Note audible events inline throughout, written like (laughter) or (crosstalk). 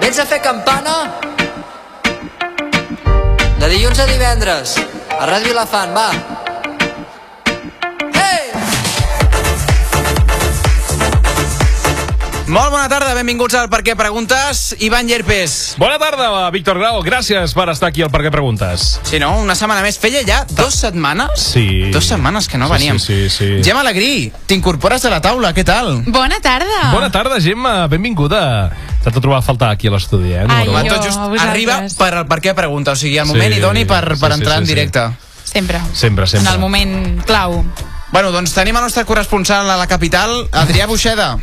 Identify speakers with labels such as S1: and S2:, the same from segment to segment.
S1: Vens a fer campana? De dilluns a divendres, a Ràdio Vilafant, va. Hey!
S2: Molt bona tarda, benvinguts al Per què preguntes, Ivan Llerpes.
S3: Bona tarda, Víctor Grau. Gràcies per estar aquí al Per què preguntes.
S2: Sí, no? Una setmana més. Feia ja dues setmanes?
S3: Sí.
S2: Dues setmanes que no
S3: Sí,
S2: veníem.
S3: sí, sí, sí.
S2: Gemma Alegrí, t'incorpores a la taula, què tal?
S4: Bona tarda.
S3: Bona tarda, Gemma. Benvinguda. T'ha de trobar a faltar aquí a l'estudi, eh?
S4: Ai,
S2: Home,
S4: jo,
S2: tot just
S4: vosaltres.
S2: arriba per al per què pregunta, o sigui, al moment
S3: Sí,
S2: idoni per, per
S3: sí, sí,
S2: entrar
S3: sí,
S2: en
S3: sí.
S2: directe.
S4: Sempre.
S3: Sempre, sempre.
S4: En el moment clau.
S2: Bueno, doncs tenim el nostre corresponsal a la capital, Adrià Buixeda.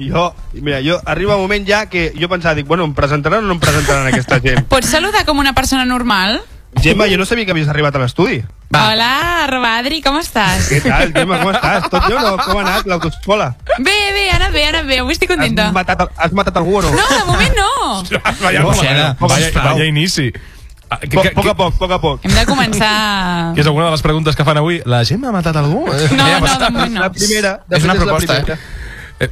S5: I Jo, mira, jo arriba un moment ja que jo pensava, dic, bueno, em presentaran o no em presentaran aquesta gent?
S4: Pots saludar com una persona normal?
S5: Gemma, jo no sabia que havies arribat a l'estudi.
S2: Va.
S4: Hola, arroba Adri, com estàs?
S5: Què tal, Gemma, com estàs? Tot bé o no? Com ha anat l'autoescola?
S4: Bé, bé, ha anat bé, ha anat bé, avui estic
S5: Has
S4: contenta.
S5: matat, has matat algú o no?
S4: No, de moment
S5: (laughs)
S4: no.
S5: Vaya,
S3: Home,
S2: Buixeda,
S3: vaya, vaya,
S2: sisplau.
S3: vaya inici. Ah, que-
S5: poc,
S3: que-
S5: poc a poc, poc a poc.
S3: Em,
S4: Hem de començar...
S3: Que és alguna de les preguntes que fan avui. La Gemma ha matat algú?
S4: No, no, de moment no.
S5: La primera, de
S2: És
S5: fet,
S2: una
S5: la
S2: proposta,
S5: primera.
S2: eh?
S3: Eh,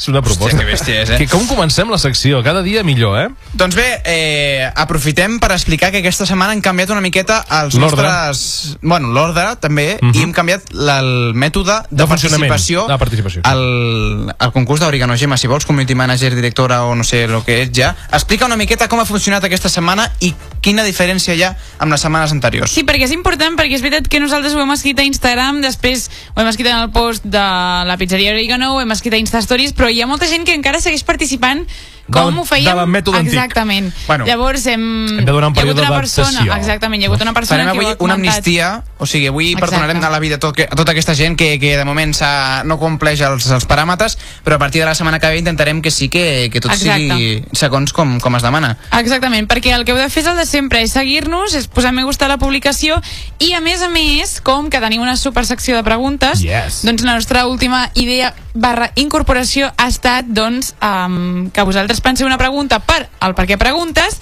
S3: és una proposta.
S2: que bèstia és, eh?
S3: Que com comencem la secció? Cada dia millor, eh?
S2: Doncs bé, eh, aprofitem per explicar que aquesta setmana han canviat una miqueta els
S3: L'ordre.
S2: nostres... Bueno, l'ordre també,
S3: Mhm.
S2: i hem canviat la- el mètode de,
S3: De funcionament,
S2: participació,
S3: de participació, sí.
S2: Al, al concurs d'Origano Gemma, si vols, community manager, directora o no sé el que ets ja. Explica una miqueta com ha funcionat aquesta setmana i quina diferència hi ha amb les setmanes anteriors.
S4: Sí, perquè és important, perquè és veritat que nosaltres ho hem escrit a Instagram, després ho hem escrit en el post de la pizzeria Oregano, ho hem escrit a Instastories, però hi ha molta gent que encara segueix participant com
S3: Del-
S4: ho fèiem.
S3: de la mètode antic.
S4: Exactament.
S2: Bueno.
S4: Llavors hem...
S3: Hem de donar un
S4: hi ha hagut
S3: període
S4: una persona,
S3: d'adaptació.
S4: Exactament, hi ha hagut una persona
S2: Farem
S4: que
S2: avui
S4: ho ha
S2: una
S4: comentat.
S2: amnistia, o sigui, avui
S4: Exacte.
S2: perdonarem a la vida tot que, a tota aquesta gent que, que de moment s'ha- no compleix els, els paràmetres, però a partir de la setmana que ve intentarem que sí que, que tot
S4: Exacte.
S2: sigui segons com, com es demana.
S4: Exactament, perquè el que heu de fer és el de sempre, és seguir-nos, és posar me gusta a la publicació i a més a més, com que teniu una supersecció de preguntes,
S3: Yes.
S4: doncs la nostra última idea barra incorporació ha estat doncs, um, que vosaltres penseu una pregunta per el per què preguntes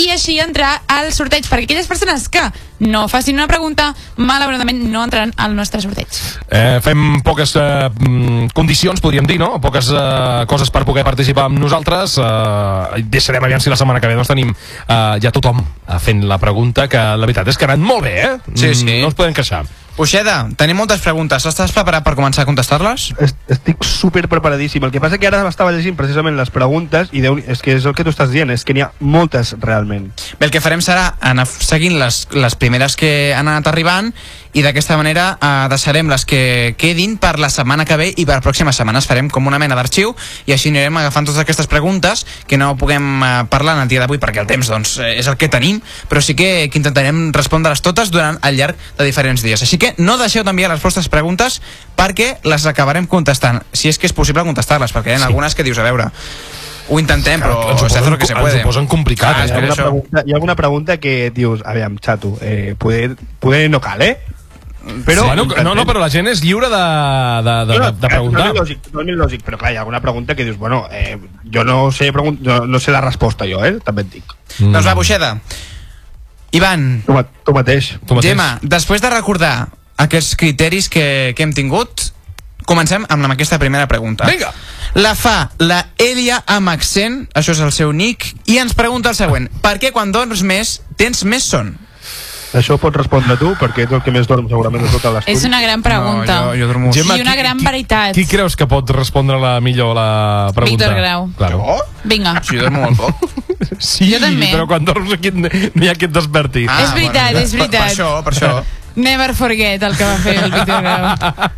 S4: i així entrar al sorteig, perquè aquelles persones que no facin una pregunta, malauradament no entraran al nostre sorteig.
S3: Eh, fem poques eh, mm, condicions, podríem dir, no? Poques eh, coses per poder participar amb nosaltres. Eh, deixarem aviam si la setmana que ve doncs tenim eh, ja tothom eh, fent la pregunta, que la veritat és que ha anat molt bé, eh?
S2: Sí, sí.
S3: Mm, No ens podem queixar.
S2: Uixeda, tenim moltes preguntes. Estàs preparat per començar a contestar-les?
S5: Est- Estic super preparadíssim. El que passa que ara estava llegint precisament les preguntes i Déu, és que és el que tu estàs dient, és que n'hi ha moltes realment.
S2: Bé, el que farem serà anar seguint les, les primeres que han anat arribant i d'aquesta manera eh, deixarem les que quedin per la setmana que ve i per la pròxima setmana. Es farem com una mena d'arxiu i així anirem agafant totes aquestes preguntes que no puguem eh, parlar en el dia d'avui perquè el temps doncs, eh, és el que tenim, però sí que, que intentarem respondre-les totes durant el llarg de diferents dies. Així que no deixeu d'enviar les vostres preguntes perquè les acabarem contestant, si és que és possible contestar-les, perquè hi ha
S3: Sí.
S2: algunes que dius, a veure... Ho intentem,
S3: Clar,
S2: però
S3: ens
S2: se
S3: ho
S2: hace
S3: posen
S2: lo que
S3: co-
S2: se
S3: ens
S2: puede.
S3: ho posen complicat,
S2: Clar,
S3: eh?
S2: és
S5: Hi ha,
S2: que
S3: Per
S5: alguna
S2: això-
S5: pregunta, hi ha alguna pregunta que dius, aviam, xato, eh, poder, poder no cal, eh?
S3: Però, bueno,
S5: intentem.
S3: no, no, però la gent és lliure de, de, de,
S5: eh,
S3: de, de preguntar.
S5: Totalment lògic, totalment lògic, però clar, hi ha alguna pregunta que dius, bueno, eh, jo no sé, pregun- no, no sé la resposta jo, eh? També et dic.
S3: Mm.
S2: Doncs va, Buixeda. Ivan,
S5: Tu, ma- tu mateix.
S3: Tu mateix.
S2: Gemma, després de recordar aquests criteris que, que hem tingut, comencem amb, amb aquesta primera pregunta.
S3: Vinga.
S2: La fa la Elia amb accent, això és el seu nick, i ens pregunta el següent. Per què quan dorms més, tens més son?
S5: Això ho pots respondre tu, perquè ets el que més dorm segurament de tota l'estudi.
S4: És una gran pregunta.
S2: No, jo, jo dormo...
S4: Gemma, I una gran veritat.
S3: Qui creus que pot respondre la millor la pregunta?
S4: Víctor Grau.
S3: Claro.
S2: Oh?
S4: Vinga.
S2: Sí, jo dormo molt
S3: (laughs)
S2: poc.
S3: Sí,
S4: Jo també.
S3: però quan dorms aquí et- no hi ha qui et desperti.
S4: Ah. És veritat, és
S2: per-
S4: veritat.
S2: Per, per això, per això.
S4: Never forget el que va fer el Víctor Grau.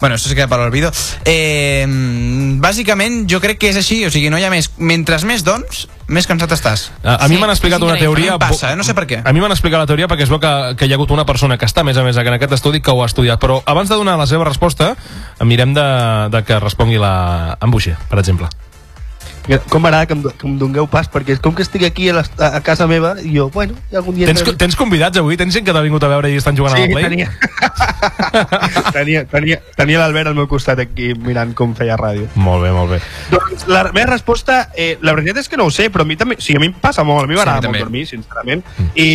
S2: Bueno, això sí que per l'olvido. Eh, bàsicament, jo crec que és així, o sigui, no hi ha més. Mentre més dorms, més cansat estàs.
S3: A, a mi
S4: Sí,
S3: m'han explicat
S4: és
S3: una
S4: increïble.
S3: teoria...
S2: Em passa, eh? no sé per què.
S3: A mi m'han explicat la teoria perquè es veu que, que hi ha hagut una persona que està, a més a més, en aquest estudi que ho ha estudiat. Però abans de donar la seva resposta, mirem de, de que respongui la en Buixer, per exemple.
S5: Com m'agrada que, em do- que em dongueu pas, perquè és com que estic aquí a, les, a a casa meva, i jo, bueno, i algun dia...
S3: Tens, co- tens convidats avui? Tens gent que t'ha vingut a veure i estan jugant
S5: Sí,
S3: a la Play?
S5: tenia. (laughs) tenia, tenia, tenia l'Albert al meu costat aquí mirant com feia ràdio.
S3: Molt bé, molt bé.
S5: Doncs la meva resposta, eh, la veritat és que no ho sé, però a mi també, sí, a mi em passa molt, a mi
S2: Sí, a mi
S5: m'agrada molt
S2: també.
S5: dormir, sincerament, i,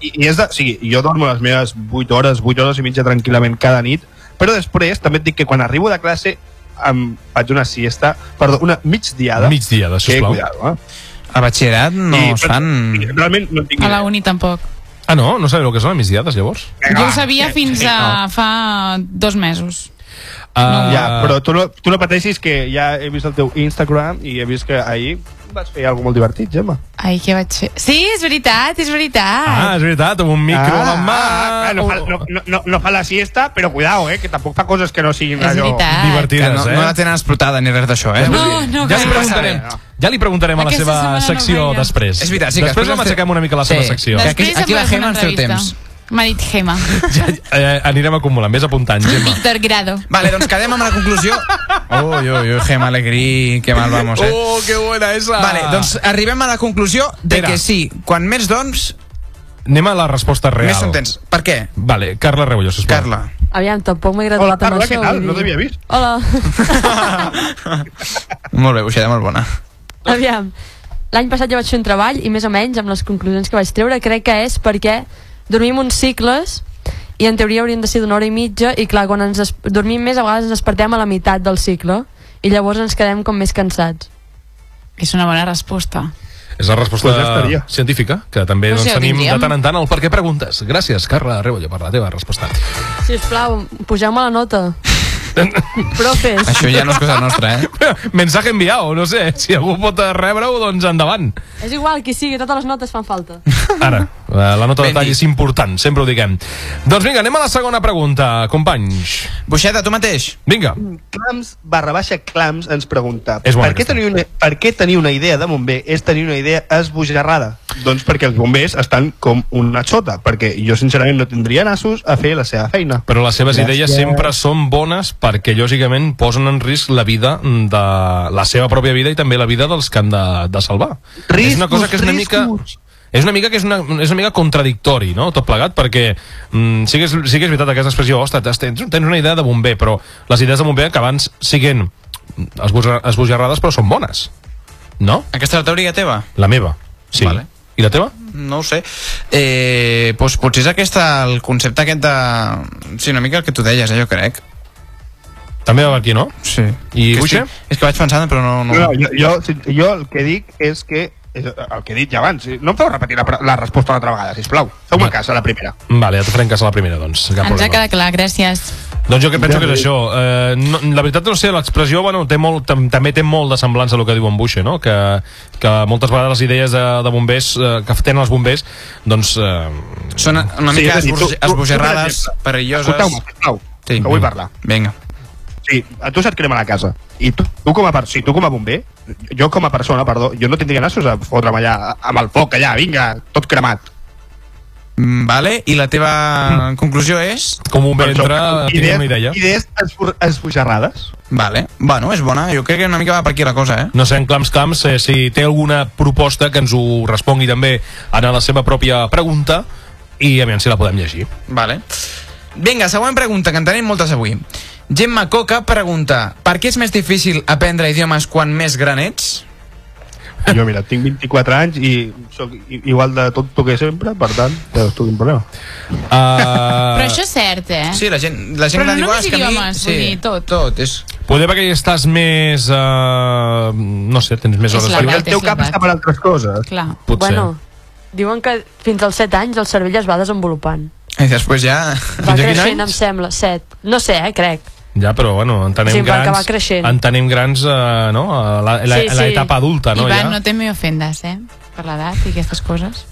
S5: i, i és de, o sigui, jo dormo les meves 8 hores, 8 hores i mitja tranquil·lament cada nit, però després també et dic que quan arribo de classe em vaig una siesta, perdó, una migdiada.
S3: Migdiada, sisplau.
S5: Que, cuidado, eh?
S2: A batxillerat no
S5: I,
S2: es fan...
S5: Realment no en tinc
S4: A la
S5: idea.
S4: uni tampoc.
S3: Ah, no? No sabeu el que són les migdiades, llavors?
S5: Vinga,
S4: Jo ho
S5: va.
S4: sabia fins a fa dos mesos.
S3: Uh,
S5: Ja, però tu no, tu no pateixis que ja he vist el teu Instagram i he vist que ahir vas fer alguna molt divertit, Gemma.
S4: Ai, què vaig fer? Sí, és veritat, és veritat.
S3: Ah, és veritat, amb un micro ah, a la mà... Oh,
S5: ah, no, fa, no, no- no, no fa la siesta, però cuidao, eh, que tampoc fa coses que no siguin
S4: és
S5: allò...
S4: veritat.
S2: Que
S3: Divertides,
S2: no,
S3: eh?
S2: no la tenen explotada ni res d'això, eh?
S4: No,
S2: Vull dir,
S3: ja
S4: no,
S3: li
S4: gaire.
S3: preguntarem,
S5: No.
S3: ja li preguntarem a la
S4: Aquesta
S3: seva
S4: setmana no
S3: secció
S4: gaire.
S3: després.
S2: És veritat, sí que
S3: després l'enxequem una mica a la seva
S2: Sí.
S3: secció.
S2: Des-
S4: Després
S2: Aquí-
S4: em
S2: aquí la
S4: faràs
S2: Gemma
S4: una
S2: ens treu
S4: entrevista. Marit (laughs) Gema.
S3: Ja, eh, anirem acumulant, vés apuntant, Gemma.
S4: Víctor Grado.
S2: Vale, doncs quedem amb la conclusió. Uy, uy, uy, Gemma Alegrí, que mal vamos, eh?
S3: (laughs) Oh, que buena esa!
S2: Vale, doncs arribem a la conclusió de
S3: Pere.
S2: que sí, quan més dons,
S3: Anem a la resposta real.
S2: més contents. Per què?
S3: Vale, Carla Rebollo, sisplau.
S2: Carla.
S6: Aviam, tampoc m'he agradat
S5: Hola,
S6: tant
S5: Carla,
S6: això,
S5: què tal?
S6: vull dir.
S5: No t'havia vist.
S6: Hola.
S5: (laughs)
S6: (laughs)
S2: Molt bé, Buixeda, molt bona.
S6: Aviam, l'any passat ja vaig fer un treball i més o menys amb les conclusions que vaig treure crec que és perquè dormim uns cicles i en teoria haurien de ser d'una hora i mitja i clar, quan ens des- dormim més a vegades ens despertem a la meitat del cicle i llavors ens quedem com més cansats.
S4: És una bona resposta.
S3: És la resposta
S5: Pues ja estaria.
S3: científica, que també
S4: Pues
S3: doncs,
S4: ja ho
S3: tenim de
S4: tindríem.
S3: tant en tant el per què preguntes. Gràcies, Carla Rebollo, per la teva resposta. (laughs)
S6: Si us plau, pugeu-me la nota. Profes.
S2: Això ja no és cosa nostra, eh?
S3: Mensaje enviado, no sé. Si algú pot eh, rebre-ho, doncs endavant.
S6: És igual, qui sigui, totes les notes fan falta.
S3: Ara, eh, la nota de
S2: Ben
S3: tall
S2: dit.
S3: és important, sempre ho diguem. Doncs vinga, anem a la segona pregunta, companys.
S2: Buixeda, tu mateix.
S3: Vinga.
S5: Clams barra baixa Clams ens pregunta
S3: És bona
S5: per què,
S3: aquesta.
S5: tenir una, per què tenir una idea de bomber és tenir una idea esbojarrada? Doncs perquè els bombers estan com una xota, perquè jo sincerament no tindria nassos a fer la seva feina.
S3: Però les seves
S5: Gràcies.
S3: idees sempre són bones perquè, lògicament, posen en risc la vida de la seva pròpia vida i també la vida dels que han de, de salvar.
S5: Riscos,
S3: és una cosa que és una mica...
S5: riscos.
S3: És una mica que és una, és una mica contradictori, no?, tot plegat, perquè mm, sí, que és, sí que és veritat aquesta expressió, ostres, tens, tens una idea de bomber, però les idees de bomber que abans siguen esbojar- esbojarrades, però són bones, no?
S2: Aquesta és la teoria teva?
S3: La meva, sí.
S2: Vale.
S3: I la teva?
S2: No ho sé. Eh, doncs potser és aquesta, el concepte aquest de... Sí, una mica el que tu deies, eh, jo crec.
S3: També va per aquí, no?
S2: Sí.
S3: I
S2: que
S3: Buixe?
S2: estic- És que vaig pensant, però no...
S5: No,
S2: no.
S5: jo, jo, jo el que dic és que és el que he dit ja abans. No em feu repetir la, pre- la resposta una altra vegada, sisplau. Feu-me
S3: Va.
S5: cas a la primera.
S3: Vale, ja et farem cas a la primera, doncs. Cap
S4: Ens ha
S3: problema.
S4: quedat clar, gràcies.
S3: Doncs jo que penso que és això. Eh, no, la veritat no sé, l'expressió bueno, té molt, tam, també té molt de semblança a el que diu en Buixe, no? que, que moltes vegades les idees de, de bombers, eh, que tenen els bombers, doncs... Eh,
S2: Són una
S5: Sí,
S2: mica
S5: és a dir, tu-
S2: esboge-
S5: tu- tu, per
S2: esbojarrades,
S5: exemple, Escolteu-me,
S2: perilloses...
S5: sisplau,
S2: Sí.
S5: que vull parlar.
S2: Vinga.
S5: Sí, a tu se't crema la casa. I tu, tu com a per, sí, tu com a bomber, jo com a persona, perdó, jo no tindria nassos a fotre'm allà, amb el foc allà, vinga, tot cremat.
S2: Mm, Vale, i la teva
S5: Mm.
S2: conclusió és...
S3: com un
S5: Per
S3: bé
S5: això,
S3: entra, tinc una idea.
S5: Idees esbor- esbojarrades.
S2: Vale, bueno, és bona, jo crec que una mica va per aquí la cosa, eh?
S3: No sé, en Clams Clams, eh, si té alguna proposta que ens ho respongui també en la seva pròpia pregunta i aviam si la podem llegir. Eh,
S2: Vale. Vinga, següent pregunta, que en tenim moltes avui. Gemma Coca pregunta Per què és més difícil aprendre idiomes quan més gran ets?
S5: Jo, mira, tinc 24 anys i sóc i- igual de tonto que sempre, per tant, ja no és un problema.
S3: Uh,
S4: Però això és cert, eh?
S2: Sí, la gent, la gent
S4: Però
S2: gran
S4: no
S2: diu, "Ah,
S4: només
S2: és que a mi-"
S4: idiomes,
S2: sí,
S4: vull dir, tot.
S2: Tot, és...
S3: Poder perquè estàs més... Uh, no sé, tens més
S4: És
S3: hores.
S4: la
S3: lliures,
S5: Perquè el
S4: té
S5: teu cap
S4: flipat.
S5: està per altres coses.
S4: Clar.
S3: Potser.
S6: Bueno, diuen que fins als 7 anys el cervell es va desenvolupant.
S2: I després ja...
S6: Va
S3: Fins a quin anys?
S6: creixent, em sembla, 7. No sé, eh, crec.
S3: Ja, però bueno, entenem
S6: Sí, va
S3: grans...
S6: acabar creixent.
S3: Entenem grans, eh, no?, a la- la-
S6: Sí,
S3: a
S6: sí.
S3: l'etapa adulta, Ah, no?
S4: Ivan,
S3: ja?
S4: no te me ofendes, eh? Per l'edat i aquestes coses.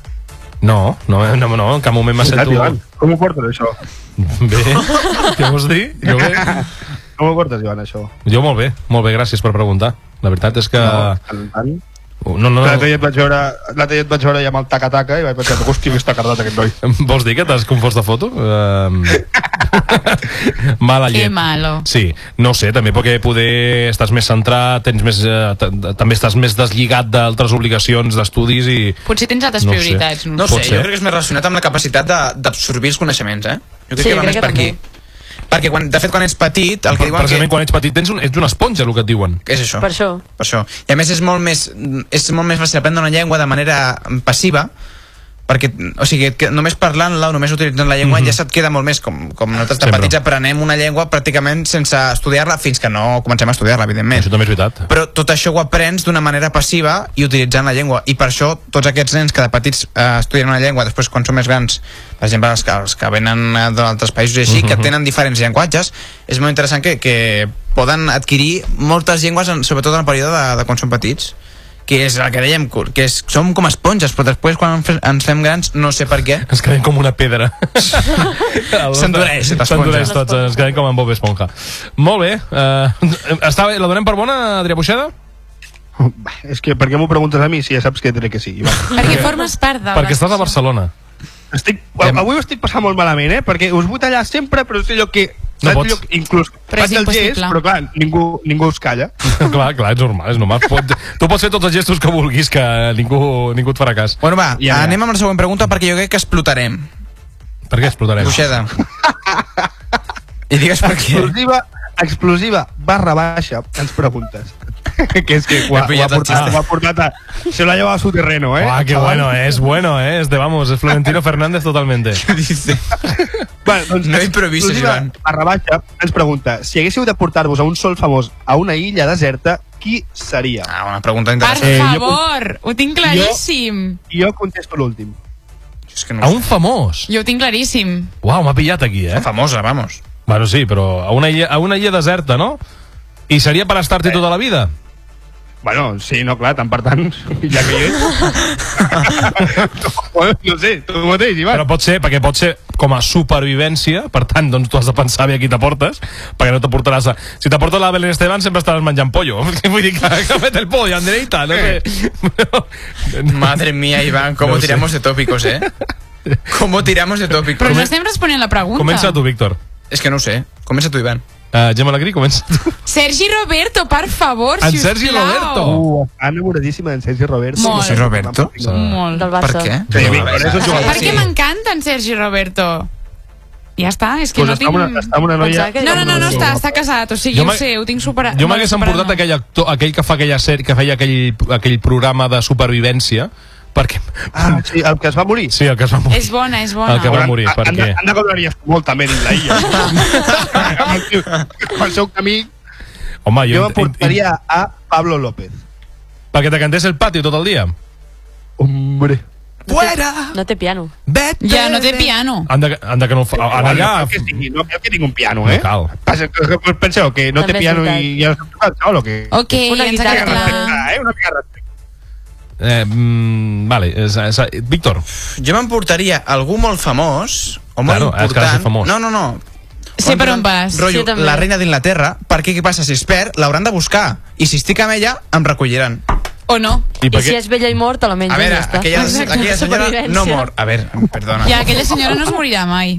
S3: no, no, no, no, en cap moment m'ha
S5: Clar,
S3: sento...
S5: Ivan, com ho portes, això?
S3: Bé, què vols dir? Jo bé?
S5: Com ho portes, Ivan, això?
S3: Jo molt bé, molt bé, gràcies per preguntar. La veritat és que... Oh,
S5: No, tant, tant.
S3: No,
S2: Ah.
S3: no, no.
S5: L'altre dia et vaig veure, l'altre dia et vaig veure ja amb el taca-taca i vaig pensar, hosti, que està cardat aquest noi. (laughs)
S3: Vols dir que t'has confós de foto?
S2: (laughs)
S3: Uh... Mala
S4: Que
S3: Ah, llet.
S4: malo.
S3: Sí, no ho sé, també perquè poder estàs més centrat, tens més, eh, t- t- també estàs més deslligat d'altres obligacions d'estudis i...
S4: Potser tens altres
S3: No ho sé.
S4: prioritats.
S2: No
S4: No,
S2: ho sé,
S3: Pot ser.
S2: jo crec que és més relacionat amb la capacitat de- d'absorbir els coneixements, eh? Jo crec
S6: Sí,
S2: que va
S6: crec
S2: més
S6: que
S2: per
S6: també.
S2: aquí. Perquè, quan, de fet, quan ets petit, el que diuen
S3: Precisament
S2: que...
S3: quan ets petit tens un, ets una esponja, el que et diuen.
S2: És això.
S6: Per això.
S2: Per això. I a més és molt més, és molt més fàcil aprendre una llengua de manera passiva perquè, o sigui, que només parlant-la o només utilitzant la llengua mm -hmm. ja se't queda molt més com, com nosaltres de
S3: Mhm. Sempre.
S2: petits aprenem una llengua pràcticament sense estudiar-la fins que no comencem a estudiar-la, evidentment
S3: Això també és veritat.
S2: però tot això ho aprens d'una manera passiva i utilitzant la llengua i per això tots aquests nens que de petits eh, estudien una llengua després quan són més grans per exemple els que, els que venen eh, d'altres països i així que tenen diferents llenguatges és molt interessant que, que poden adquirir moltes llengües en, sobretot en el període de, de quan són petits que és el que dèiem, que és, som com esponges però després quan fe- ens fem grans no sé per què
S3: Ens quedem com una pedra.
S2: S'endureix, l'esponja.
S3: S'endureix tots, ens quedem com en Bob Esponja. Molt bé. Uh, està bé, la donem per bona, Adrià Buixeda?
S5: Va, És que per què m'ho preguntes a mi si ja saps que diré que
S2: (laughs)
S5: sí? Va.
S4: Perquè formes part de...
S3: Perquè estàs a Barcelona. (laughs)
S5: Estic, avui ho estic passant molt malament, eh? Perquè us vull tallar sempre, però és allò que...
S3: No
S5: saps
S3: pots.
S5: allò que Inclús
S4: Però és
S5: faig el gest,
S4: impossible.
S5: però clar, ningú, ningú us calla.
S3: clar, clar, és normal, és normal. Pot, tu pots fer tots els gestos que vulguis, que ningú, ningú et farà cas.
S2: bueno va,
S5: Ja, ja.
S2: ja, anem amb la següent pregunta perquè jo crec que explotarem
S3: Per què
S2: (laughs)
S3: explotarem?
S2: Buixeda i digues per què
S5: Explosiva, explosiva barra baixa, ens preguntes. (laughs) que és que ho ha,
S2: He
S5: ho ha
S2: pillat el
S5: portat,
S2: xiste.
S5: ho ha portat a... Se lo ha llevado a su terreno, eh?
S3: Ah, qué bueno, eh? es bueno, eh? es de vamos, es Florentino Fernández totalmente.
S2: Dice.
S5: Bueno, doncs,
S2: No improvisis,
S5: exclusiva
S2: Joan.
S5: Barra baixa ens pregunta, si haguéssiu de portar-vos a un sol famós a una illa deserta, qui seria?
S2: Ah, una pregunta
S4: Per
S2: interessant.
S5: Eh, jo-
S4: favor, ho tinc claríssim.
S5: I jo contesto l'últim.
S2: És que no
S3: A un famós.
S4: Jo ho tinc claríssim.
S3: Uau, m'ha pillat aquí, eh?
S2: famosa, vamos.
S3: Bueno, sí, però a una illa, a una illa deserta, no? I seria per estar-hi tota la vida?
S5: Bueno, sí, no, clar, tant per tant, (laughs) ja que hi ets. (laughs) no, no sé, tu mateix, Ivan.
S3: Però pot ser, perquè pot ser com a supervivència, per tant, doncs tu has de pensar bé a qui t'aportes, perquè no t'aportaràs a... Si t'aportes la Belén Esteban, sempre estaràs menjant pollo. (laughs) Vull dir que, que fet el pollo, Andreita, no
S5: (laughs)
S3: sé.
S2: Madre mía, Iván, cómo
S3: No ho sé.
S2: tiramos de tópicos, ¿eh? ¿Cómo tiramos de tópicos?
S4: Però no estem responent la pregunta.
S3: Comença tu, Víctor.
S2: Es que no ho sé. Comença tu, Iván.
S3: Uh, Gemma Lagri, comença tu.
S4: Sergi Roberto, per favor,
S3: En
S4: si
S3: Sergi Roberto.
S5: Uh, està enamoradíssima d'en Sergi Roberto.
S4: Molt. oh. Sergi
S2: Roberto?
S4: Molt.
S6: Del
S2: Per
S6: Barça.
S2: què?
S5: Sí, Víctor, és un jugador.
S4: Perquè m'encanta en Sergi Roberto. Ja està, és que
S5: Pues
S4: no
S5: està,
S4: tinc...
S5: amb una, està amb una noia...
S6: Pensava que-
S4: No, no, no, no està, està casat, o sigui,
S3: Jo
S4: jo ho
S3: m'ha-
S4: sé, ho tinc superat.
S3: Jo m'hagués emportat aquell actor, aquell que fa aquella sèrie, que feia aquell, aquell programa de supervivència, perquè...
S5: Ah, sí, el que es va morir.
S3: Sí, el que es va morir.
S4: És bona, és bona.
S3: El que va- morir, per
S5: han,
S3: què?
S5: Han de cobrar molt també dins la illa. Amb el tio- Pel seu camí,
S3: Home,
S5: jo
S3: jo... int-
S5: portaria a Pablo López.
S3: int- Perquè te cantés el pati tot el dia.
S5: Hombre.
S2: Fuera!
S6: No té piano.
S2: Vete!
S4: Ja, no té piano.
S3: Han de, han de que no ho fa... Han allà...
S5: No, que tingui, no cal que tingui un piano, eh?
S3: No cal.
S5: Passa, que- penseu que no té
S6: També és
S5: piano
S6: veritat.
S5: i ja no sap tocar sol o què?
S4: Ok,
S6: Una
S4: ens ha
S6: guitarra.
S4: quedat clar.
S5: Respecte, eh? Una mica de respecte.
S3: Eh, mm, vale, és, és, Víctor,
S2: Jo m'emportaria algú molt famós, o molt
S3: Claro, has quedat
S2: important...
S3: famós.
S2: No, no, no.
S6: eh?
S4: Sé per on vas.
S2: Rotllo,
S6: Sí, també.
S2: la reina d'Inglaterra, perquè què passa? Si es perd, l'hauran de buscar. I si estic amb ella, em recolliran.
S4: O no?
S3: i
S6: I,
S3: per
S6: si
S3: què...
S6: és vella i mort, te la menges.
S2: A veure,
S6: ja està.
S2: aquella,
S4: Exacte,
S2: aquella senyora no
S6: supervivència.
S2: mor. A veure, perdona.
S4: Ja, aquella senyora no es morirà mai.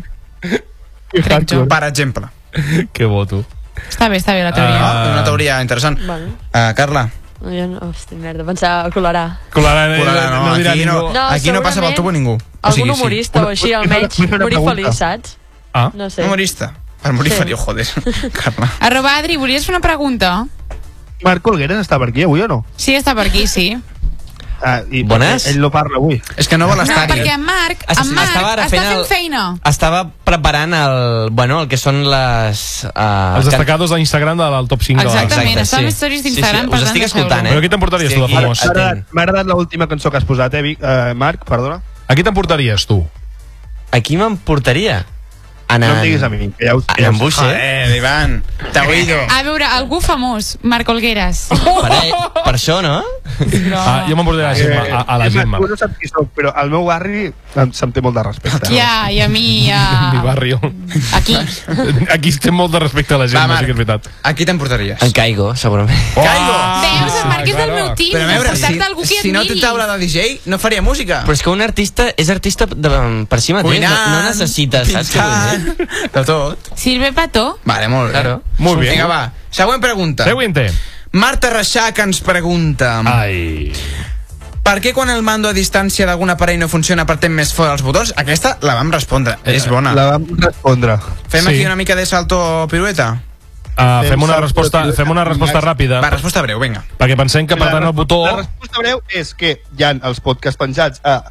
S5: Crec
S4: jo.
S2: Per exemple.
S3: (laughs) Que bo, tu.
S4: Està bé, està bé la teoria.
S2: Ah, una teoria interessant.
S6: Vale.
S2: Uh, Carla,
S6: Jo no, hosti, merda, pensava colarà.
S3: Colarà, no,
S2: Colarà, no,
S3: no, no dirà
S2: aquí
S3: ningú.
S2: no. aquí no passa pel
S6: segurament
S2: tubo ningú. O
S6: Algun
S2: sigui, sí.
S6: humorista o així,
S5: Una- una-
S6: almenys,
S5: una
S6: morir
S5: pregunta.
S6: feliç, saps?
S3: Ah,
S6: No sé.
S2: Humorista. Per morir
S6: Sí.
S2: sí. faria, joder, (laughs) Carla.
S4: Arroba Adri, volies fer una pregunta?
S5: Marc Olgueres està per aquí avui o no?
S4: Sí, està per aquí, sí.
S5: Ah, i
S7: Bones.
S5: Ell no parla avui.
S2: És que no vol
S4: No,
S2: estar-hi.
S4: perquè en Marc,
S7: Es-
S4: en Marc
S7: estava ara
S4: està
S7: fent
S4: fent
S7: el-
S4: feina.
S7: Estava preparant el, bueno, el que són les... Uh,
S3: els destacados d'Instagram del top 5 de la...
S4: Ah, Exactament. estava amb stories d'Instagram, per
S7: Us
S4: tant,
S7: estic
S4: deixeu-lo.
S7: escoltant, eh?
S3: Però qui t'emportaries
S7: Estic
S3: tu de
S7: aquí
S3: famós?
S5: M'ha agradat,
S7: atent.
S5: m'ha agradat l'última cançó que has posat, eh, Vic, eh Marc, perdona.
S3: Aquí t'emportaries, tu?
S7: A qui m'emportaria? En,
S5: No em diguis a mi, que ja ho
S7: En, en Buix, eh?
S2: Joder, Ivan, t'ha oído.
S4: A veure, algú famós, Marc Olgueras.
S7: Per, ell- per això, no?
S4: Però...
S3: Ah, jo m'emportaria a, la Gemma, a, a la Gemma.
S5: Tu no saps qui soc, però al meu barri em, se'm té molt de respecte.
S4: Ja, i a mi, ja...
S3: Mi barrio. (laughs)
S4: Aquí.
S3: Ah, Aquí estem molt de respecte a la gent,
S2: Va,
S3: no sé
S2: Marc.
S3: que és veritat.
S2: A qui t'emportaries?
S7: En Caigo, segurament.
S2: Caigo!
S4: Veus, el Marc és del
S3: claro.
S4: meu team.
S2: Però a veure,
S4: S'emporta algú
S2: si,
S4: que
S2: si no té
S4: admiri.
S2: taula de DJ, no faria música.
S7: Però és que un artista és artista de, per si mateix.
S2: Cuinant,
S7: no, no necessita, saps? què vull dir?
S2: pintant, (laughs) de tot.
S4: Sirve pató.
S2: Vale, molt bé.
S7: Claro.
S3: Molt bé.
S2: Vinga, va. Següent pregunta.
S3: Següente.
S2: Marta Reixac ens pregunta...
S3: Ai.
S2: Per què quan el mando a distància d'algun aparell no funciona apretem més fort els botons? Aquesta la vam respondre.
S3: Eh,
S2: és bona.
S5: La vam respondre.
S2: Fem
S3: Sí.
S2: aquí una mica de salto pirueta?
S3: Uh, fem una resposta, fem una resposta ràpida,
S2: Va, resposta breu, vinga.
S3: perquè pensem que per tant el botó...
S5: La resposta breu és que hi ha els podcasts penjats a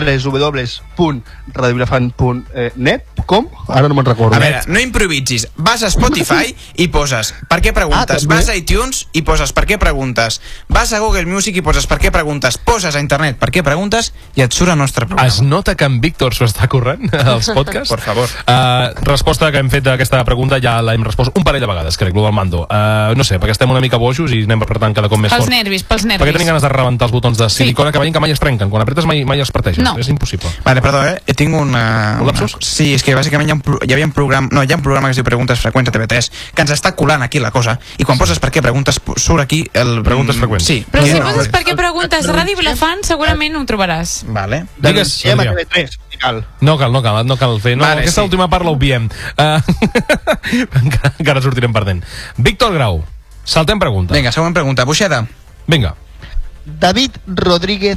S5: www.radiovilafant.net com? Ara no me'n recordo.
S2: A veure, no improvisis. Vas a Spotify i poses per què preguntes.
S5: Ah, també.
S2: Vas a iTunes i poses per què preguntes. Vas a Google Music i poses per què preguntes. Poses a internet per què preguntes i et surt el nostre programa.
S3: Es nota que en Víctor s'ho està corrent (laughs) als podcasts?
S2: Por favor.
S3: Uh, resposta que hem fet d'aquesta pregunta ja la hem respost un parell de vegades, crec, lo del mando. Uh, no sé, perquè estem una mica bojos i anem apretant cada cop més
S4: Pels
S3: fort.
S4: nervis, pels nervis.
S3: Perquè tenim ganes de rebentar els botons de silicona sí. que veiem que mai es trenquen. Quan apretes mai, mai es parteixen.
S4: No.
S3: És impossible.
S2: Vale, perdó, eh? Tinc una...
S3: Un lapsus?
S2: una- Sí, és que bàsicament hi ha un, pro... hi havia un programa... No, hi ha un programa que es diu Preguntes Freqüents a TV3 que ens està colant aquí la cosa i quan poses per què preguntes pu- surt aquí el...
S3: Preguntes freqüents.
S2: Sí.
S4: Però si
S2: No,
S4: poses
S2: no.
S4: per què preguntes Ràdio Vilafant, segurament ho trobaràs.
S2: Vale.
S3: Digues,
S5: Denunciem a
S3: Adrià.
S5: TV3, si cal.
S3: No cal, no cal, no cal fer. No, vale,
S2: Vale,
S3: aquesta sí.
S2: sí.
S3: última part l'obviem. Uh, (laughs) encara, encara sortirem perdent. Víctor Grau, saltem pregunta.
S2: Vinga, següent pregunta. Buixeda.
S3: Vinga.
S8: David Rodríguez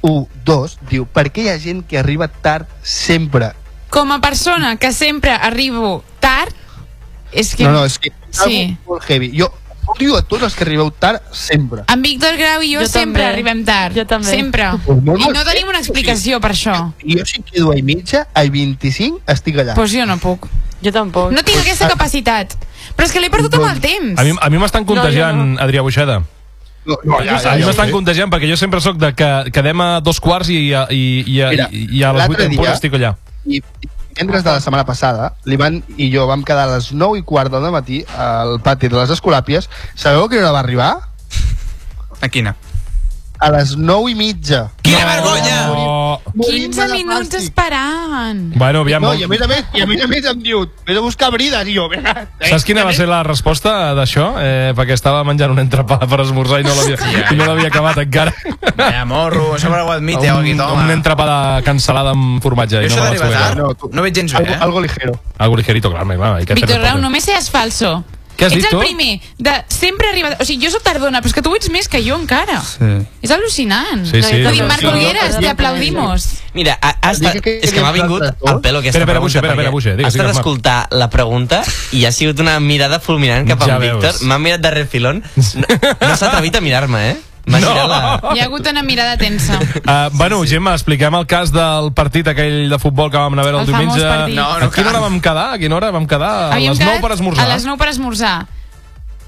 S8: 312 diu per què hi ha gent que arriba tard sempre?
S4: Com a persona que sempre arribo tard, és que...
S8: No, no, és que
S4: Sí.
S8: algo molt heavy. Jo odio a tots els que arribeu tard sempre.
S4: En Víctor Grau i jo,
S6: Jo
S4: sempre
S6: també.
S4: arribem tard.
S6: Jo també.
S4: Sempre.
S8: Pues molt
S4: I no
S8: bé.
S4: tenim una explicació per això.
S8: I jo si quedo a i mitja, a 25 estic allà.
S4: Doncs pues jo no puc.
S6: Jo tampoc.
S4: No tinc aquesta capacitat. Però és que l'he perdut amb el temps.
S3: A mi, a mi m'estan contagiant, no,
S6: No, jo
S3: no. Adrià Buixeda.
S5: No, no, ja,
S3: a
S5: ja,
S3: mi
S5: ja,
S3: m'estan
S5: ja,
S3: contagiant perquè jo sempre sóc de que quedem a dos quarts i, a- i, i, a-
S8: Mira,
S3: i, i a les vuit
S8: l'altre
S3: en punt
S8: dia-
S3: estic allà.
S8: I divendres de la setmana passada, l'Ivan i jo vam quedar a les 9 i quart del matí al pati de les Escolàpies. Sabeu que hora va arribar?
S2: A quina?
S8: A les 9 i mitja.
S2: Quina vergonya!
S3: Oh.
S4: 15 minuts esperant.
S3: Bueno, aviam,
S8: No,
S3: no,
S8: i a més a més, i a més, a més em diu, vés a buscar brides, eh, i jo, vinga.
S3: Saps quina va ser la resposta d'això? Eh, perquè estava menjant un entrepà per esmorzar i no l'havia i no l'havia acabat encara.
S2: Vaya morro, això ho admite, aquí,
S3: un,
S2: toma.
S3: un entrepà de cancel·lada amb formatge.
S2: Jo
S3: i no
S2: això
S3: me vaig
S2: d'arribar
S3: poder
S2: tard,
S3: quedar.
S2: no, no veig gens bé, eh?
S8: Algo ligero.
S3: Algo ligerito, clar, home, clar. hay que
S4: Víctor
S3: hacer
S4: Grau,
S3: deporte.
S4: només seas falso.
S3: Què has dit
S4: ets el
S3: tu?
S4: primer de sempre arribar... O sigui, jo soc tardona, però és que tu ho ets més que jo encara.
S2: Sí.
S4: És al·lucinant.
S3: Sí, sí.
S4: Vull dir,
S3: no,
S4: Marc
S3: sí, no.
S4: Olgueras,
S8: no,
S4: te
S8: no.
S4: aplaudimos.
S7: Mira, ha, ha estat,
S8: Digue que-
S7: és que m'ha vingut al pelo aquesta
S3: Espera, espera, Buixa,
S7: pregunta.
S3: espera, espera,
S7: perquè
S3: Buixa, digues,
S7: ha estat
S3: digues, Marc.
S7: escoltar la pregunta i ha sigut una mirada fulminant cap a
S3: Ja
S7: en
S3: veus.
S7: Víctor. M'ha mirat de
S3: (laughs)
S7: refilón. No, no s'ha atrevit a mirar-me, eh? M'ha
S3: No.
S7: girat la...
S4: Hi ha hagut una mirada tensa.
S3: Uh, bueno, sí, sí. Gemma, expliquem el cas del partit aquell de futbol que vam anar a veure el,
S4: El famós
S3: diumenge.
S4: partit. No,
S2: no
S3: a quina
S2: cal.
S3: hora vam quedar? A quina hora vam quedar? A
S4: Havíem
S3: les
S4: quedat
S3: 9 per esmorzar.
S4: A les 9 per esmorzar.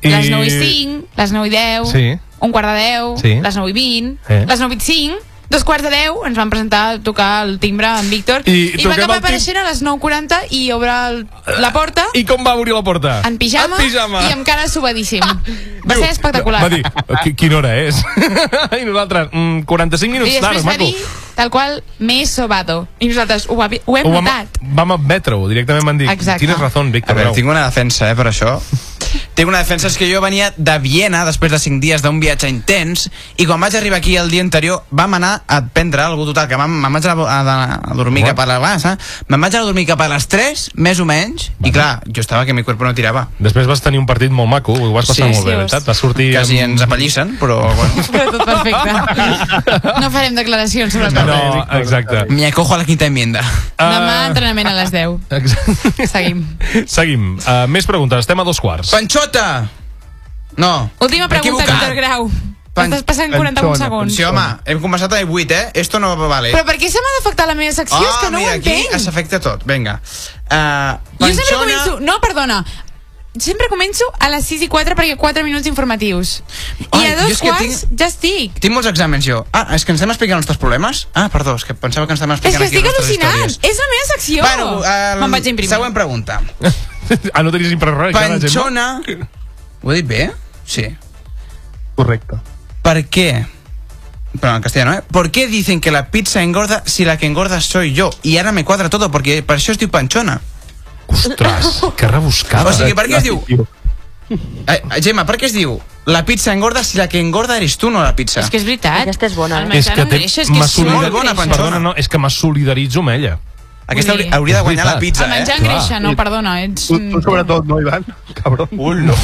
S4: I... Les 9 i 5, les 9 i 10,
S3: Sí.
S4: un quart de 10,
S3: Sí.
S4: les 9 i 20,
S3: Eh.
S4: les 9 i 5, dos quarts de 10, ens van presentar a tocar el timbre amb Víctor
S3: I
S4: i va
S3: toquem
S4: acabar
S3: el tim- Eh,
S4: apareixent a les 9.40 i obre el, la porta
S3: I com va obrir la porta?
S4: en pijama,
S3: En pijama. Ah.
S4: i amb cara subadíssim. Va
S3: Diu-
S4: ser espectacular.
S3: Va dir, "Qui- quina hora és? (laughs) I nosaltres, mm, 45
S4: I
S3: minuts tard,
S4: després va
S3: maco.
S4: dir, tal qual, me he sobado. I nosaltres ho, va, ho hem
S3: Ho vam,
S4: notat. (laughs)
S3: vam admetre-ho, directament van dir,
S4: Exacte.
S3: tienes razón,
S2: A
S3: Víctor.
S2: veure,
S3: Grau."
S2: tinc una defensa, eh, per això. Tinc una defensa, és que jo venia de Viena després de 5 dies d'un viatge intens i quan vaig arribar aquí el dia anterior vam anar a prendre alguna total, que vam- me'n vaig anar a, a, a dormir
S3: Bueno.
S2: cap a les... Vas, eh? Me'n vaig anar a dormir cap a les 3, més o menys, i clar, jo estava que mi cuerpo no tirava.
S3: Després vas tenir un partit molt maco, ho vas passar
S2: Sí,
S3: molt bé,
S4: sí,
S3: la veritat. Vas sortir...
S2: Quasi
S3: amb-
S2: ens apallissen, però bueno.
S4: Però tot perfecte. No farem declaracions sobre el no.
S2: eh,
S3: No, exacte.
S2: Me acojo a la quinta enmienda.
S3: Ah,
S4: Demà entrenament a les 10.
S3: Exacte.
S4: Seguim.
S3: Seguim. Uh, més preguntes. Estem a dos quarts.
S2: Panxota! No.
S4: Última pregunta,
S2: Equivocat.
S4: Víctor Grau.
S2: Pan-
S4: Estàs passant 41
S8: Panxona,
S4: segons.
S2: Sí, home, hem començat a 18, eh? Esto no vale.
S4: Però per què se m'ha d'afectar la meva secció? és que no
S2: Ah, mira,
S4: ho
S2: aquí
S4: entenc.
S2: es afecta tot, vinga. Uh,
S4: Jo sempre començo... No, perdona. Sempre començo a les 6 i 4 perquè 4 minuts informatius.
S2: Ai,
S4: I a
S2: jo
S4: dos
S2: és que
S4: quarts
S2: tinc-
S4: ja estic.
S2: Tinc molts exàmens, jo. Ah, és que ens estem explicant els teus problemes? Ah, perdó, és que pensava que ens estem
S4: És
S2: explicant aquí
S4: que estic
S2: les nostres
S4: al·lucinant.
S2: històries.
S4: És la meva secció.
S2: Bueno, el...
S4: Me'n vaig a imprimir.
S2: Següent pregunta.
S3: (laughs) Ah, no tenies sempre res. encara, Gemma?
S2: Panxona... Ho he dit bé? Sí.
S8: Correcte.
S2: ¿Por qué? Perdón, en castellano, ¿eh? ¿Por qué dicen que la pizza engorda si la que engorda soy yo? Y ahora me cuadra todo, porque para eso estoy panchona.
S3: Ostres, que rebuscada.
S2: O sigui, per què es diu... Eh, eh, Gemma, per què es diu la pizza engorda si la que engorda eres tu, no la pizza?
S4: És que és veritat.
S6: Aquesta és bona, eh?
S4: El
S3: És que
S4: menjar no
S3: té-
S4: engreixa, és que
S3: m'ha
S4: és
S3: solidat-
S4: molt
S2: Bona,
S4: engreixa.
S2: Panxona.
S3: Perdona, no, és que me solidaritzo amb ella.
S2: Aquesta
S4: vull
S2: hauri-
S4: dir-
S2: hauria de guanyar la
S3: veritat.
S2: pizza,
S4: El menjar
S2: eh?
S4: engreixa, no, perdona, ets...
S8: Tu, tu sobretot, no, Ivan? Cabron.
S2: Ul, no.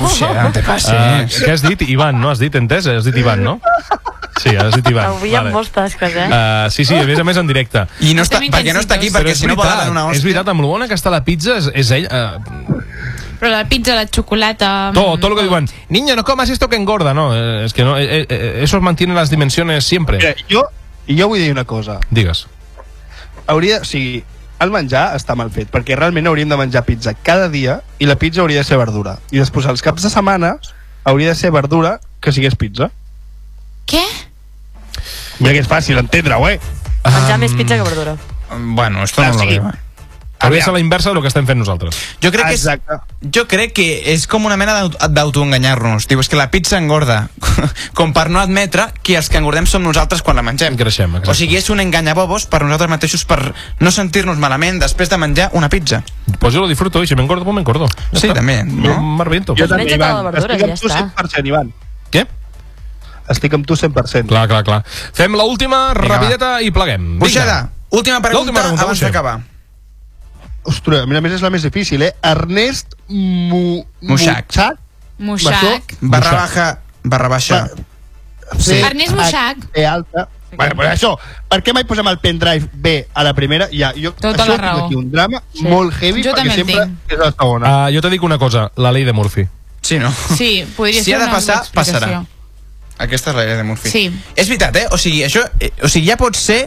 S2: Buixera, te
S3: Uh,
S2: passes.
S3: què has dit, Ivan, no? Has dit entès? Has dit Ivan, no? Sí, has dit Ivan.
S6: Avui hi ha molts tasques, eh?
S2: Ah,
S3: Uh, sí, sí, a més a més en directe.
S2: I no està,
S4: Estem
S2: perquè no està aquí,
S4: intensitos.
S2: perquè
S3: és
S2: si no
S3: veritat,
S2: valen una
S3: és
S2: hòstia.
S3: veritat, amb lo bona que està la pizza és, és ell... Uh,
S4: Però la pizza, la xocolata... mm.
S6: Mm.
S3: todo, todo lo que diuen, eh, niño, no comas esto que engorda, no, eh, es que no, eh, eh, eso mantiene las dimensiones siempre.
S5: Mira, jo I jo vull dir una cosa.
S3: Digues.
S5: Hauria, o sigui, el menjar està mal fet, perquè realment hauríem de menjar pizza cada dia i la pizza hauria de ser verdura. I després, els caps de setmana, hauria de ser verdura que sigués pizza.
S4: Què?
S9: Mira que és fàcil entendre-ho, eh?
S2: ah.
S6: Menjar més pizza que verdura.
S2: Bueno, esto no
S9: Ah,
S2: lo
S9: sí.
S2: veo. eh?
S3: Hauria de ser la inversa del que estem fent nosaltres.
S2: Jo crec, que és,
S5: Exacte.
S2: jo crec que és com una mena d'aut- d'autoenganyar-nos. Diu, és que la pizza engorda. (laughs) com per no admetre que els que engordem som nosaltres quan la mengem.
S3: Engreixem, exacte.
S2: O sigui, és un enganyabobos per nosaltres mateixos per no sentir-nos malament després de menjar una pizza.
S3: Pues yo lo disfruto y si me engordo, pues me engordo. Ya
S2: Sí,
S3: está.
S2: també,
S3: Yo
S2: no?
S3: me arrepiento.
S5: Jo
S6: Menja tota la verdura,
S5: Estic
S6: ja
S5: amb tu
S6: està.
S5: 100%, Ivan.
S3: Què?
S5: Estic amb tu 100%.
S3: Clar, clar, clar. Fem l'última, rapideta i pleguem. Vinga.
S2: Buixada, última pregunta,
S3: L'última pregunta,
S2: abans
S3: Buixa.
S2: d'acabar.
S5: Ostres, a mi a més és la més difícil, eh? Ernest Mu...
S2: Muixac.
S5: Muixac?
S4: Moixac.
S2: Barra
S3: Buixa.
S2: baja, barra baixa.
S5: Sí.
S4: Ernest Muixac.
S5: B alta. Vale, pues això, per què mai posem el pendrive B a la primera? Ja, jo,
S4: Tota
S5: això
S4: la raó.
S5: Aquí un drama sí. molt heavy,
S4: Jo també
S5: perquè
S4: el
S5: sempre
S4: tinc.
S5: és la segona.
S3: Ah, jo te dic una cosa, la llei de Murphy.
S2: Sí, no?
S4: Sí, podria
S2: Si
S4: ser
S2: ha de
S4: una
S2: passar,
S4: explicació.
S2: passarà. Aquesta és la idea de Murphy.
S4: Sí.
S2: És veritat, eh? O sigui, això, eh, o sigui, ja pot ser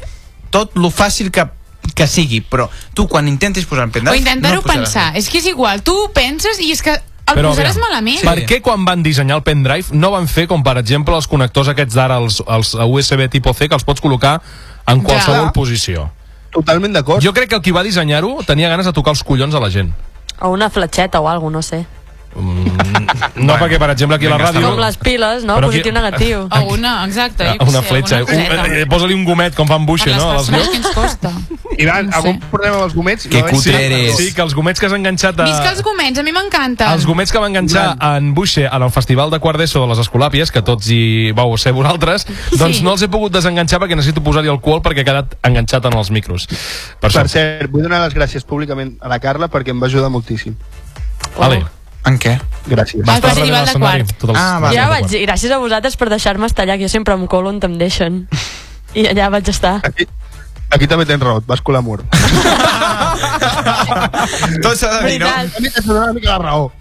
S2: tot lo fàcil que, que sigui, però tu quan intentis posar el
S4: O
S2: pendrive...
S4: intentar-ho
S2: no posaràs.
S4: pensar. És que és igual, tu ho penses i és que el
S3: Però,
S4: posaràs
S3: aviam,
S4: malament.
S3: Sí. Per què quan van dissenyar el pendrive no van fer com per exemple els connectors aquests d'ara els, els USB tipus C que els pots col·locar en qualsevol
S4: Clar.
S3: posició
S5: Totalment d'acord.
S3: jo crec que el qui va dissenyar-ho tenia ganes de tocar els collons a la gent
S6: O una fletxeta o alguna no sé.
S3: mm, no bueno, perquè per exemple aquí a la
S2: vinga,
S3: ràdio
S2: està
S6: Com les piles, no?
S3: Però aquí-
S6: Positiu, negatiu.
S4: O una, exacte. jo
S3: Ah,
S4: què
S3: una
S4: sé,
S3: fletxa,
S4: alguna
S3: un,
S4: coseta.
S3: eh, eh, posa-li un gomet com fan
S4: Per
S3: buixa
S4: les
S3: no? a les
S4: persones
S3: meus.
S4: que ens costa.
S9: Ivan,
S4: No
S9: algun
S4: sé.
S9: problema amb els gomets?
S2: Que
S5: és
S2: cutre
S5: tant,
S2: eres.
S3: sí, que els gomets que has enganxat a...
S4: Visca els gomets, a mi m'encanta.
S3: Els gomets que va enganxar en Buixer en el festival de quart d'ESO de les Escolàpies, que tots hi vau ser vosaltres, doncs
S4: Sí.
S3: no els he pogut desenganxar perquè necessito posar-hi alcohol perquè he quedat enganxat en els micros. Per,
S5: Per
S3: això.
S5: cert, vull donar les gràcies públicament a la Carla perquè em va ajudar moltíssim.
S3: Ale,
S2: En
S4: (laughs)
S2: què?
S5: Gràcies.
S4: Va.
S5: Va.
S4: Al
S3: estàs
S4: festival
S3: darrere
S4: de
S3: l'escenari,
S4: quart.
S3: tot els-
S2: Ah, va.
S3: els
S6: Ja
S3: de
S6: vaig
S3: quart.
S6: dir, gràcies a vosaltres per deixar-me estar allà, que jo sempre em colo on em deixen. I allà vaig estar.
S5: Aquí, aquí també tens raó, et vas colar
S4: (laughs)
S5: mur.
S2: Tot s'ha de dir, no?
S6: Veritat.
S5: A mi t'has donat una mica la raó.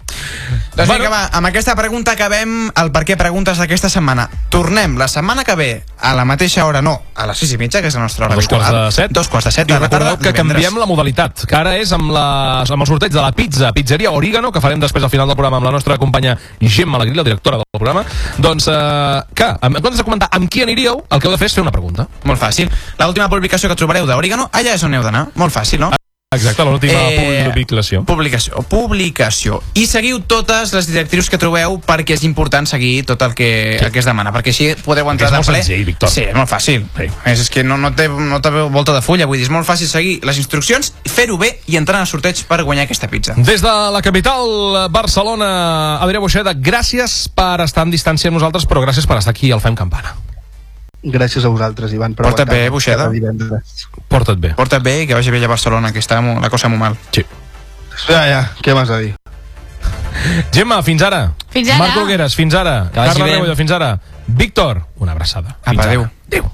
S2: Doncs vinga, va, amb aquesta pregunta acabem el per què preguntes d'aquesta setmana. Tornem la setmana que ve a la mateixa hora, no, a les 6 i mitja, que és la nostra hora
S3: A dos
S2: habitual.
S3: quarts de set.
S2: Dos quarts de set
S3: I
S2: de la tarda.
S3: recordeu que
S2: divendres.
S3: canviem la modalitat, que ara és amb, la, amb el sorteig de la pizza, pizzeria Origano, que farem després al final del programa amb la nostra companya Gemma Alegrí, la directora del programa. Doncs eh, que, en comptes de comentar amb qui aniríeu, el que heu de fer és fer una pregunta.
S2: Molt fàcil. L'última publicació que trobareu d'Origano, allà és on heu d'anar. Molt fàcil, no?
S3: Exacte, l'última
S2: Eh,
S3: eh... publicació.
S2: Publicació, publicació. I seguiu totes les directrius que trobeu perquè és important seguir tot el que, sí. el que es demana, perquè així podeu entrar
S3: És molt
S2: de ple.
S3: senzill, Víctor.
S2: Sí, és molt fàcil.
S3: Sí.
S2: Sí. És, és que no, no, té, no té volta de fulla, vull dir, és molt fàcil seguir les instruccions, fer-ho bé i entrar en el sorteig per guanyar aquesta pizza.
S3: Des de la capital, Barcelona, Adrià Boixeda, gràcies per estar en distància amb nosaltres, però gràcies per estar aquí al Fem Campana.
S5: Gràcies a vosaltres, Ivan. Per
S2: Porta't
S5: aguantar-me
S2: bé, Buixeda.
S5: cada divendres.
S3: Porta't bé.
S2: Porta't bé i que vagi bé a Barcelona, que està mo- la cosa molt mal.
S3: Sí.
S5: Ja, ja, què m'has de dir?
S3: Gemma, fins ara.
S4: Fins ara.
S3: Marc Nogueres, fins ara.
S7: vagi
S3: Carla
S7: bé.
S3: Rebollo, fins ara. Víctor, una abraçada.
S2: Apa,
S3: Fins ara.
S2: adéu.
S3: Adéu.